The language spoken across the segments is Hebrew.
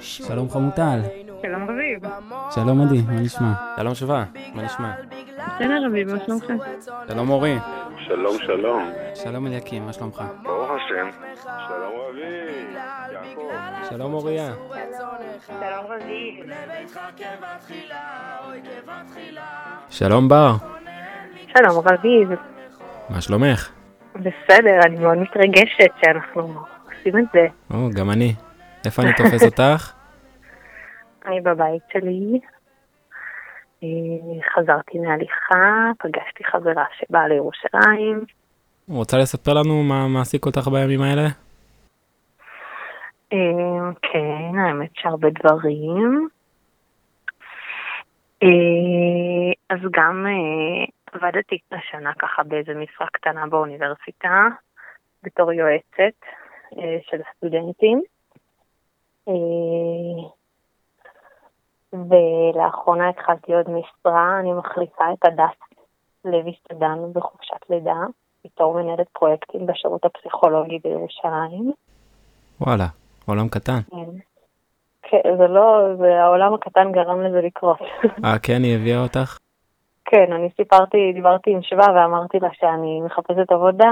שלום חמוטל. שלום רביב. שלום עדי, מה נשמע? שלום שווה, מה נשמע? בסדר רביב, מה שלומך? שלום אורי. שלום, שלום. שלום אליקים, מה שלומך? ברוך השם. שלום רביב. יעקב. שלום אוריה. שלום רביב. שלום בר. שלום רביב. מה שלומך? בסדר, אני מאוד מתרגשת שאנחנו עושים את זה. או, גם אני. איפה אני תופס אותך? אני בבית שלי. אה, חזרתי מהליכה, פגשתי חברה שבאה לירושלים. רוצה לספר לנו מה מעסיק אותך בימים האלה? אה, כן, האמת שהרבה דברים. אה, אז גם אה, עבדתי השנה ככה באיזה משרה קטנה באוניברסיטה, בתור יועצת אה, של הסטודנטים. אה, ולאחרונה התחלתי עוד משרה, אני מחליפה את הדס לוי סדן בחופשת לידה, בתור מנהלת פרויקטים בשירות הפסיכולוגי בירושלים. וואלה, עולם קטן. כן. כן, זה לא, זה העולם הקטן גרם לזה לקרות. אה, כן, היא הביאה אותך? כן, אני סיפרתי, דיברתי עם שווה ואמרתי לה שאני מחפשת עבודה,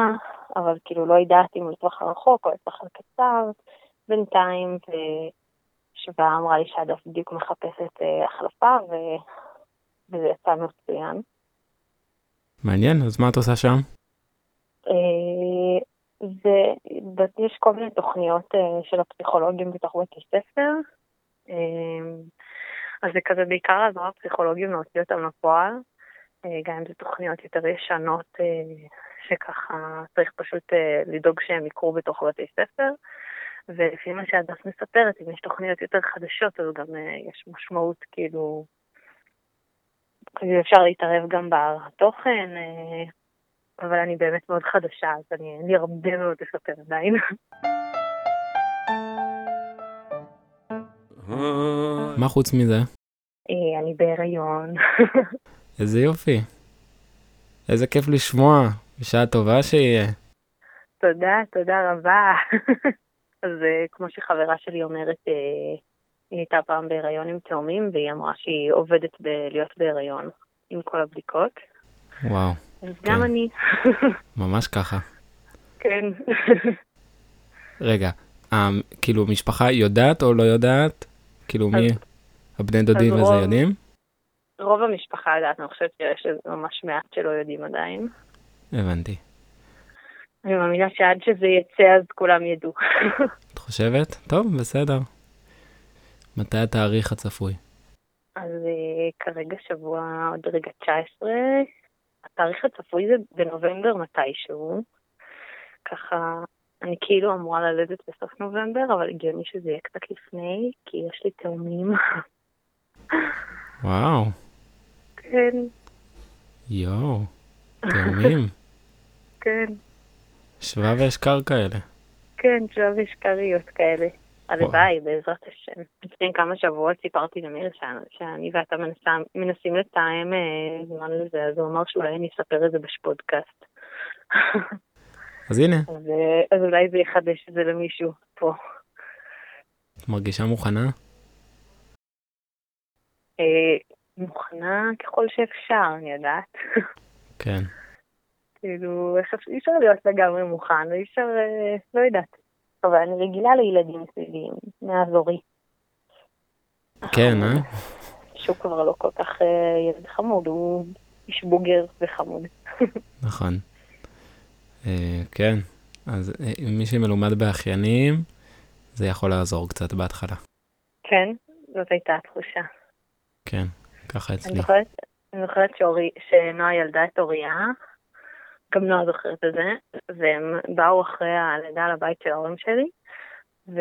אבל כאילו לא יודעת אם לטווח הרחוק או לטווח הקצר בינתיים, ושווה אמרה לי שהדס בדיוק מחפשת אה, החלפה, ו... וזה יצא מצוין. מעניין, אז מה את עושה שם? אה, זה, ב- יש כל מיני תוכניות אה, של הפסיכולוגים בתוך בתי ספר, אה, אז זה כזה בעיקר לעזור לפסיכולוגים להוציא אותם לפועל, אה, גם אם זה תוכניות יותר ישנות אה, שככה צריך פשוט אה, לדאוג שהם יקרו בתוך בתי ספר, ולפי מה שהדס מספרת, אם יש תוכניות יותר חדשות אז גם אה, יש משמעות כאילו, כאילו אפשר להתערב גם בתוכן, אה, אבל אני באמת מאוד חדשה, אז אני, אין לי הרבה מאוד לספר עדיין. מה חוץ מזה? אה, אני בהיריון. איזה יופי. איזה כיף לשמוע, בשעה טובה שיהיה. תודה, תודה רבה. אז אה, כמו שחברה שלי אומרת, אה, היא הייתה פעם בהיריון עם תאומים, והיא אמרה שהיא עובדת בלהיות בהיריון עם כל הבדיקות. וואו, אז גם כן. אני. ממש ככה. כן. רגע, אה, כאילו, משפחה יודעת או לא יודעת? כאילו, מי? הבני דודים אז וזה רוב- יודעים? רוב המשפחה יודעת, אני חושבת שיש ממש מעט שלא יודעים עדיין. הבנתי. אני מאמינה שעד שזה יצא אז כולם ידעו. את חושבת? טוב, בסדר. מתי התאריך הצפוי? אז אה, כרגע שבוע, עוד רגע 19. התאריך הצפוי זה בנובמבר מתישהו. ככה, אני כאילו אמורה ללדת בסוף נובמבר, אבל הגיוני שזה יהיה קצת לפני, כי יש לי תאומים. וואו, כן, יואו, תאומים. כן, שווה ואשכר כאלה. כן, שלב אשכריות כאלה. הלוואי, בעזרת השם. לפני כמה שבועות סיפרתי למיר שאני- שאני ואתה מנסה- מנסים לתאם אה, זמן לזה, אז הוא אמר שאולי אני אספר את זה בפודקאסט. אז הנה, אז, אה, אז אולי זה יחדש את זה למישהו פה. את מרגישה מוכנה? אה, מוכנה ככל שאפשר, אני יודעת. כן. כאילו, איך אפ- אי אפשר להיות לגמרי מוכן, אי אפשר, אה, לא יודעת. אבל אני רגילה לילדים סביביים, מאזורי, כן, אה? שהוא כבר לא כל כך אה, ילד חמוד, הוא איש בוגר וחמוד. נכון. אה, כן, אז אה, מי שמלומד באחיינים, זה יכול לעזור קצת בהתחלה. כן, זאת הייתה התחושה. כן, ככה אני אצלי. זוכרת, אני זוכרת שאורי, שנועה ילדה את אוריה, גם נועה זוכרת את זה, והם באו אחרי הלידה לבית של ההורים שלי, ו...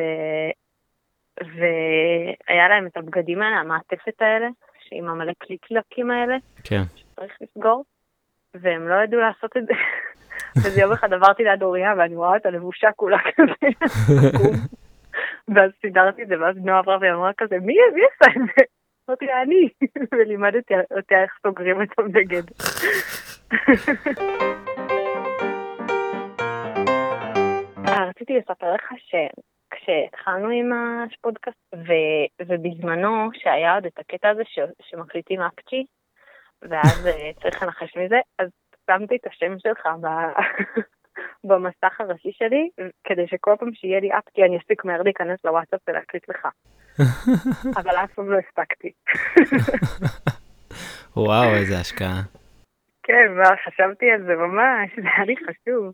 והיה להם את הבגדים האלה, המעטפת האלה, עם המלא קליקלקים האלה, כן. שצריך לסגור, והם לא ידעו לעשות את זה. אז יום אחד עברתי ליד אוריה ואני רואה אותה לבושה כולה כזה, עקום. ואז סידרתי את זה, ואז נועה עברה והיא אמרה כזה, מי מי עשה את זה? אמרתי לה, אני, ולימדתי אותה איך סוגרים את הבגד. אה, רציתי לספר לך ש... כשהתחלנו עם הפודקאסט, ו- ובזמנו, שהיה עוד את הקטע הזה ש- שמקליטים אפצ'י, ואז אה, צריך לנחש מזה, אז שמתי את השם שלך ב- במסך הראשי שלי, כדי שכל פעם שיהיה לי אפצ'י אני אספיק מהר להיכנס לוואטסאפ ולהקליט לך. אבל אף פעם לא הספקתי. וואו, איזה השקעה. כן, מה, חשבתי על זה ממש, זה היה לי חשוב.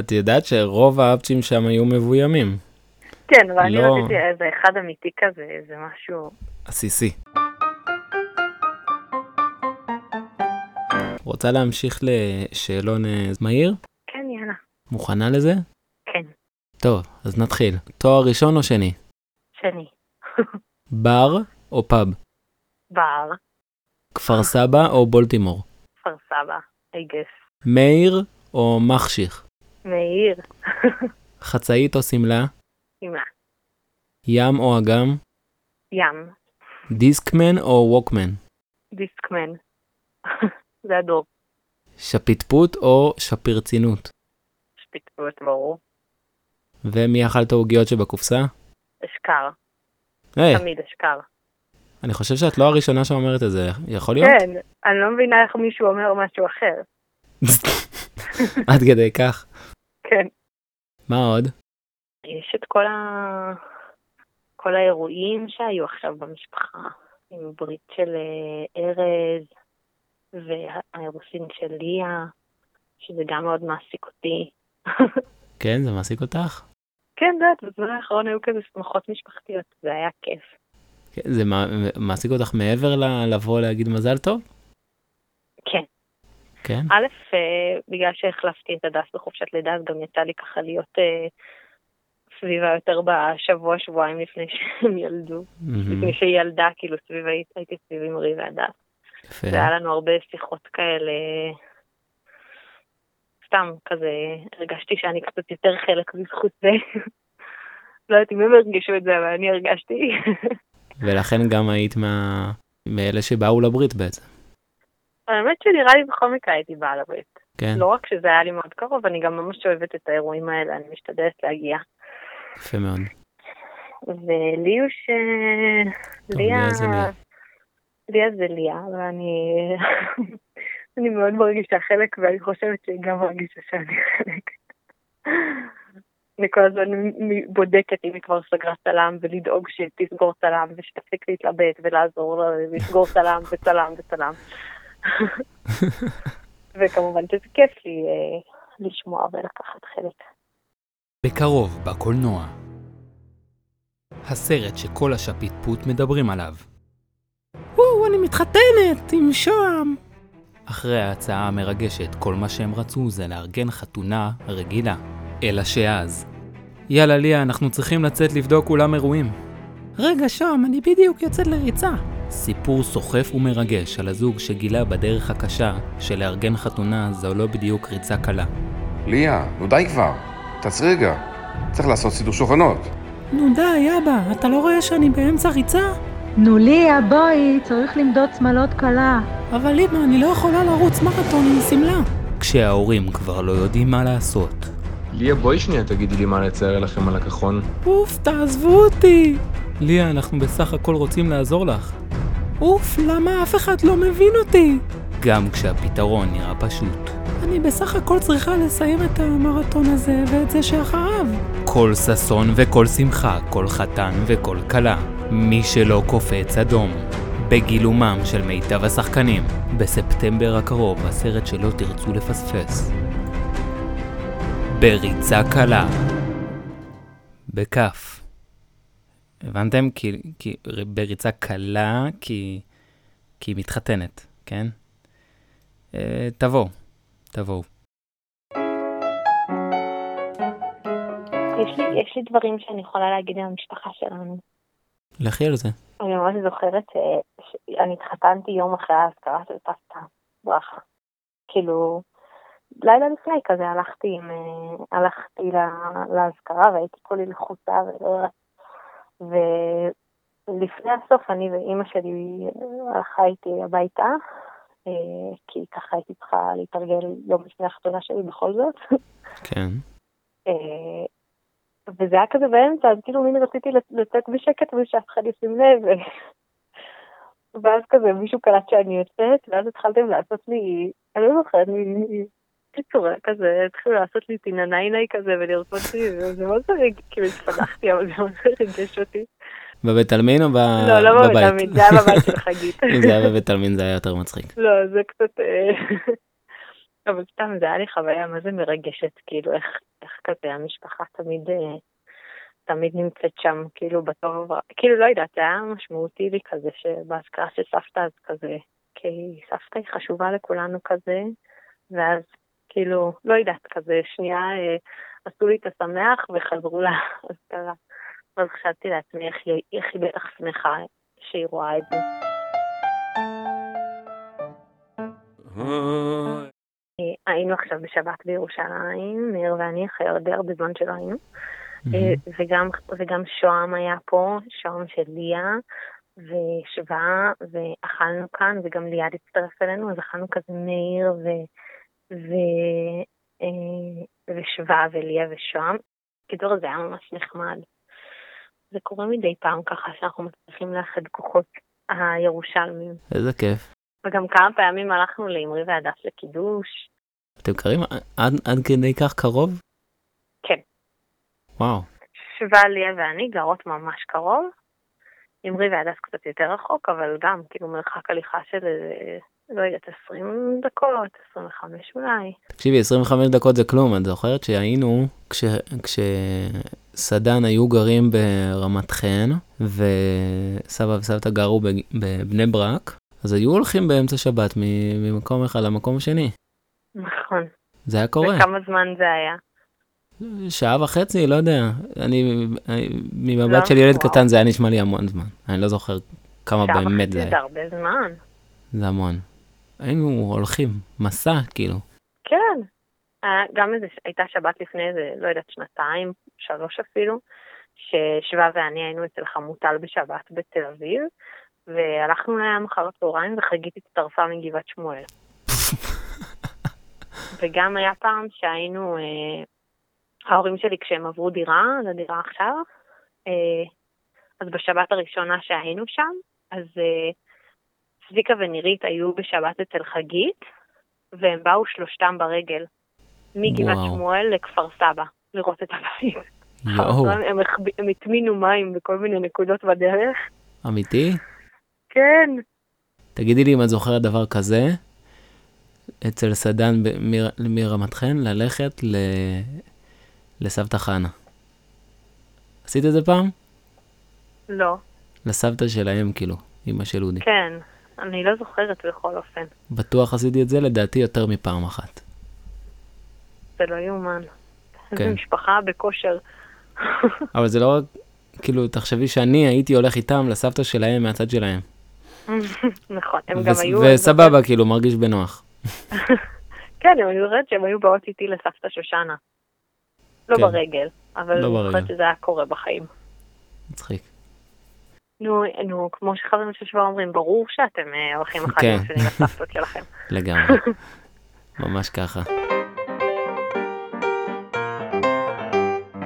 את יודעת שרוב האפצ'ים שם היו מבוימים. כן, אבל אני לא. רציתי איזה אחד אמיתי כזה, איזה משהו... עסיסי. רוצה להמשיך לשאלון אה, מהיר? כן, יאללה, מוכנה לזה? כן, טוב, אז נתחיל. תואר ראשון או שני? שני. בר או פאב? בר, כפר סבא או בולטימור? כפר סבא, I guess. מאיר או מחשיך? מאיר, חצאית או שמלה? אמא, ים או אגם? ים, דיסקמן או ווקמן? דיסקמן. זה הדור. שפיטפוט או שפרצינות? שפיטפוט, ברור. ומי אכל את העוגיות שבקופסה? אשכר, היי, תמיד אשכר. אני חושב שאת לא הראשונה שאומרת את זה, יכול להיות? כן, אני לא מבינה איך מישהו אומר משהו אחר. עד כדי כך. כן. מה עוד? יש את כל ה... כל האירועים שהיו עכשיו במשפחה, עם ברית של אה, ארז והאירוסין של ליה, שזה גם מאוד מעסיק אותי. כן, זה מעסיק אותך? כן, זה, בזמן האחרון היו כזה שמחות משפחתיות, זה היה כיף. כן, זה מע- מעסיק אותך מעבר ל- לבוא להגיד מזל טוב? כן. כן? א', אה, בגלל שהחלפתי את הדס בחופשת לידה, אז גם יצא לי ככה להיות אה, סביבה יותר בשבוע, שבועיים לפני שהם ילדו. מהמם, לפני שהיא ילדה, כאילו סביב, הייתי סביב אמרי והדס. יפה. והיה לנו הרבה שיחות כאלה, סתם כזה, הרגשתי שאני קצת יותר חלק בזכות זה. לא יודעת אם הם הרגישו את זה, אבל אני הרגשתי. ולכן גם היית מה... מאלה שבאו לברית בעצם, האמת שנראה לי בכל מקרה הייתי באה לברית. כן? לא רק שזה היה לי מאוד קרוב, אני גם ממש אוהבת את האירועים האלה, אני משתדלת להגיע. יפה מאוד. וליוש... טוב, ליה... ליה זה ליה. ליה זה ליה, ואני... אני מאוד מרגישה חלק, ואני חושבת שהיא גם מרגישה שאני חלק. אני כל הזמן מ- בודקת אם היא כבר סגרה צלם, ולדאוג שתסגור צלם, ושתפסיק להתלבט, ולעזור לה לסגור צלם, וצלם, וצלם. וכמובן שזה כיף לי אה, לשמוע ולקחת חלק. בקרוב, בקולנוע. הסרט שכל השפיטפוט מדברים עליו. וואו, אני מתחתנת עם שוהם. אחרי ההצעה המרגשת, כל מה שהם רצו זה לארגן חתונה רגילה. אלא שאז. יאללה ליה, אנחנו צריכים לצאת לבדוק אולם אירועים. רגע, שוהם, אני בדיוק יוצאת לריצה. סיפור סוחף ומרגש על הזוג שגילה בדרך הקשה שלארגן חתונה זו לא בדיוק ריצה קלה. ליה, נו די כבר. תעצרי רגע. צריך לעשות סידור שולחנות. נו די, אבא, אתה לא רואה שאני באמצע ריצה? נו ליה, בואי, צריך למדוד שמלות קלה. אבל אמא, אני לא יכולה לרוץ מרתון עם שמלה. כשההורים כבר לא יודעים מה לעשות. ליה, בואי שנייה תגידי לי מה לצייר לכם על הכחון. אוף, תעזבו אותי! ליה, אנחנו בסך הכל רוצים לעזור לך. אוף, למה אף אחד לא מבין אותי? גם כשהפתרון נראה פשוט. אני בסך הכל צריכה לסיים את המרתון הזה ואת זה שאחריו. כל ששון וכל שמחה, כל חתן וכל כלה. מי שלא קופץ אדום. בגילומם של מיטב השחקנים. בספטמבר הקרוב, הסרט שלא תרצו לפספס. בריצה קלה. בכף. הבנתם? כי, כי ר- בריצה קלה, כי, כי היא מתחתנת, כן? אה, תבואו, תבואו. יש לי, יש לי דברים שאני יכולה להגיד על המשפחה שלנו. לכי על זה. אני ממש זוכרת ש- שאני התחתנתי יום אחרי האזכרה של סבתא, ברכה. כאילו, לילה לפני כזה הלכתי, עם, אה, הלכתי לה- לאזכרה והייתי כולי לחוצה ולא רצ- ולפני הסוף אני ואימא שלי אה, הלכה איתי הביתה, אה, כי ככה הייתי צריכה להתרגל יום לפני החתונה שלי בכל זאת. כן. אה, וזה היה כזה באמצע, אז כאילו מין רציתי לצאת בשקט ושאף אחד ישים לב. ואז כזה מישהו קלט שאני יוצאת, ואז התחלתם לעשות לי, אני לא זוכרת, מין- בקיצור, היה כזה, התחילו לעשות לי טיננייני כזה ולרצות לי, וזה מאוד רגע, כאילו התפתחתי, אבל זה מאוד ריגש אותי. בבית עלמין או ב... לא, לא אה, בבית? בבית עלמין, זה היה לא- בבית של חגית. אם זה היה בבית עלמין זה היה יותר מצחיק. לא, זה קצת... אה, אבל סתם, זה היה לי חוויה מה זה מרגשת, כאילו, איך, איך כזה המשפחה תמיד, אה, תמיד נמצאת שם, כאילו, בטוב וברע. כאילו, לא יודעת, זה היה משמעותי לי כזה, שבאזכרה של סבתא, אז כזה, כי סבתא היא חשובה לכולנו כזה, ואז, כאילו, לא יודעת, כזה, שנייה אה, עשו לי את השמח וחזרו לאזכרה. אז חשבתי לעצמי איך היא, איך היא בטח שמחה שהיא רואה את זה. אה, היינו עכשיו בשבת בירושלים, מאיר ואני, אחרי הרבה הרבה זמן שלא היינו. אה, וגם, וגם שוהם היה פה, שוהם של ליה, ושווה, ואכלנו כאן, וגם ליעד הצטרף אלינו, אז אכלנו כזה מאיר ו... ו... אה, ושווה וליה ושוהם. קיצור זה היה ממש נחמד. זה קורה מדי פעם ככה שאנחנו מצליחים לאחד כוחות הירושלמים. איזה כיף. וגם כמה פעמים הלכנו לאמרי והדס לקידוש. אתם קרים עד, עד כדי כך קרוב? כן. וואו. שווה ליה ואני גרות ממש קרוב. אמרי והדס קצת יותר רחוק, אבל גם כאילו מרחק הליכה של איזה, לא יודעת, 20 דקות, 25 אולי. תקשיבי 25 דקות זה כלום את זוכרת שהיינו כש... כשסדן היו גרים ברמת חן וסבא וסבתא גרו בג- בבני ברק אז היו הולכים באמצע שבת מ- ממקום אחד למקום השני. נכון. זה היה קורה. וכמה זמן זה היה? שעה וחצי, לא יודע. אני, אני- לא? ממבט של ילד וואו. קטן זה היה נשמע לי המון זמן. אני לא זוכר כמה שעה באמת וחצי זה היה. זה הרבה זמן. זה המון. היינו הולכים, מסע, כאילו. כן. היה גם איזה, הייתה שבת לפני איזה, לא יודעת, שנתיים, שלוש אפילו, ששבא ואני היינו אצל חמוטל בשבת בתל אביב, והלכנו לים אחר הצהריים וחגית הצטרפה מגבעת שמואל. וגם היה פעם שהיינו, אה, ההורים שלי כשהם עברו דירה, לדירה עכשיו, אה, אז בשבת הראשונה שהיינו שם, אז אה, צביקה ונירית היו בשבת אצל חגית, והם באו שלושתם ברגל, מגבעת וואו. שמואל לכפר סבא, לראות את הבית. אה, יואו, נכון, הם, החב- הם הטמינו מים בכל מיני נקודות בדרך. אמיתי? כן. תגידי לי אם את זוכרת דבר כזה, אצל סדן ב- מר- מרמת חן, ללכת ל... לסבתא חנה. עשית את זה פעם? לא. לסבתא שלהם, כאילו, אמא של אודי. כן. אני לא זוכרת בכל אופן. בטוח עשיתי את זה, לדעתי, יותר מפעם אחת. זה לא יאומן. איזה כן. משפחה בכושר. אבל זה לא רק, כאילו, תחשבי שאני הייתי הולך איתם לסבתא שלהם מהצד שלהם. נכון. הם גם וס- היו... וסבבה, כאילו, מרגיש בנוח. כן, אני זוכרת שהם היו באות איתי לסבתא שושנה. לא כן. ברגל. אבל לא אני זוכרת ברגל. שזה היה קורה בחיים. מצחיק. נו, נו, כמו שחברים של שבוע אומרים, ברור שאתם אה, הולכים אחד כן. עם השני לסבתות שלכם. לגמרי. ממש ככה.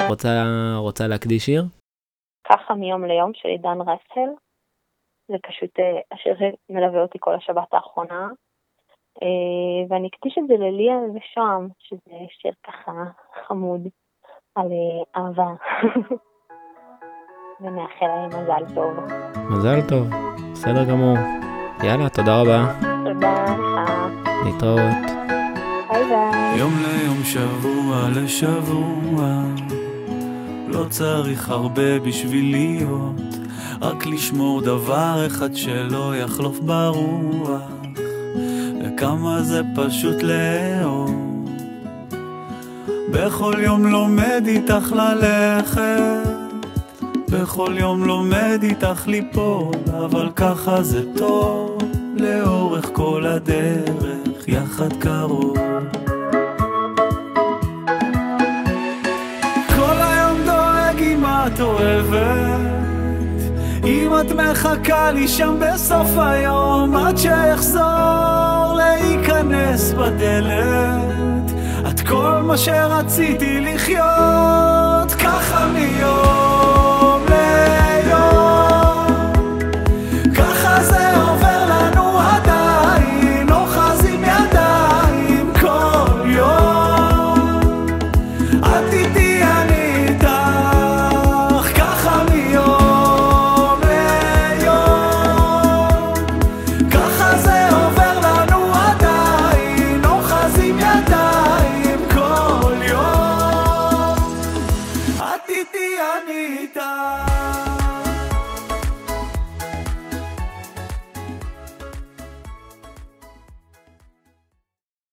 רוצה, רוצה להקדיש שיר? ככה מיום ליום של עידן רסל. זה פשוט אה, השיר שמלווה אותי כל השבת האחרונה. אה, ואני אקדיש את זה לליה ושוהם, שזה שיר ככה חמוד על אה, אהבה. ונאחל להם מזל טוב. מזל טוב, בסדר גמור. יאללה, תודה רבה, תודה לך. להתראות. ביי ביי. יום ליום, שבוע לשבוע. לא צריך הרבה בשביל להיות, רק לשמור דבר אחד שלא יחלוף ברוח. וכמה זה פשוט לאהוב. בכל יום לומד איתך ללכת, בכל יום לומד איתך ליפול, אבל ככה זה טוב, לאורך כל הדרך, יחד קרוב. כל היום דואג אם את אוהבת אם את מחכה לי שם בסוף היום עד שאחזור להיכנס בדלת את כל מה שרציתי לחיות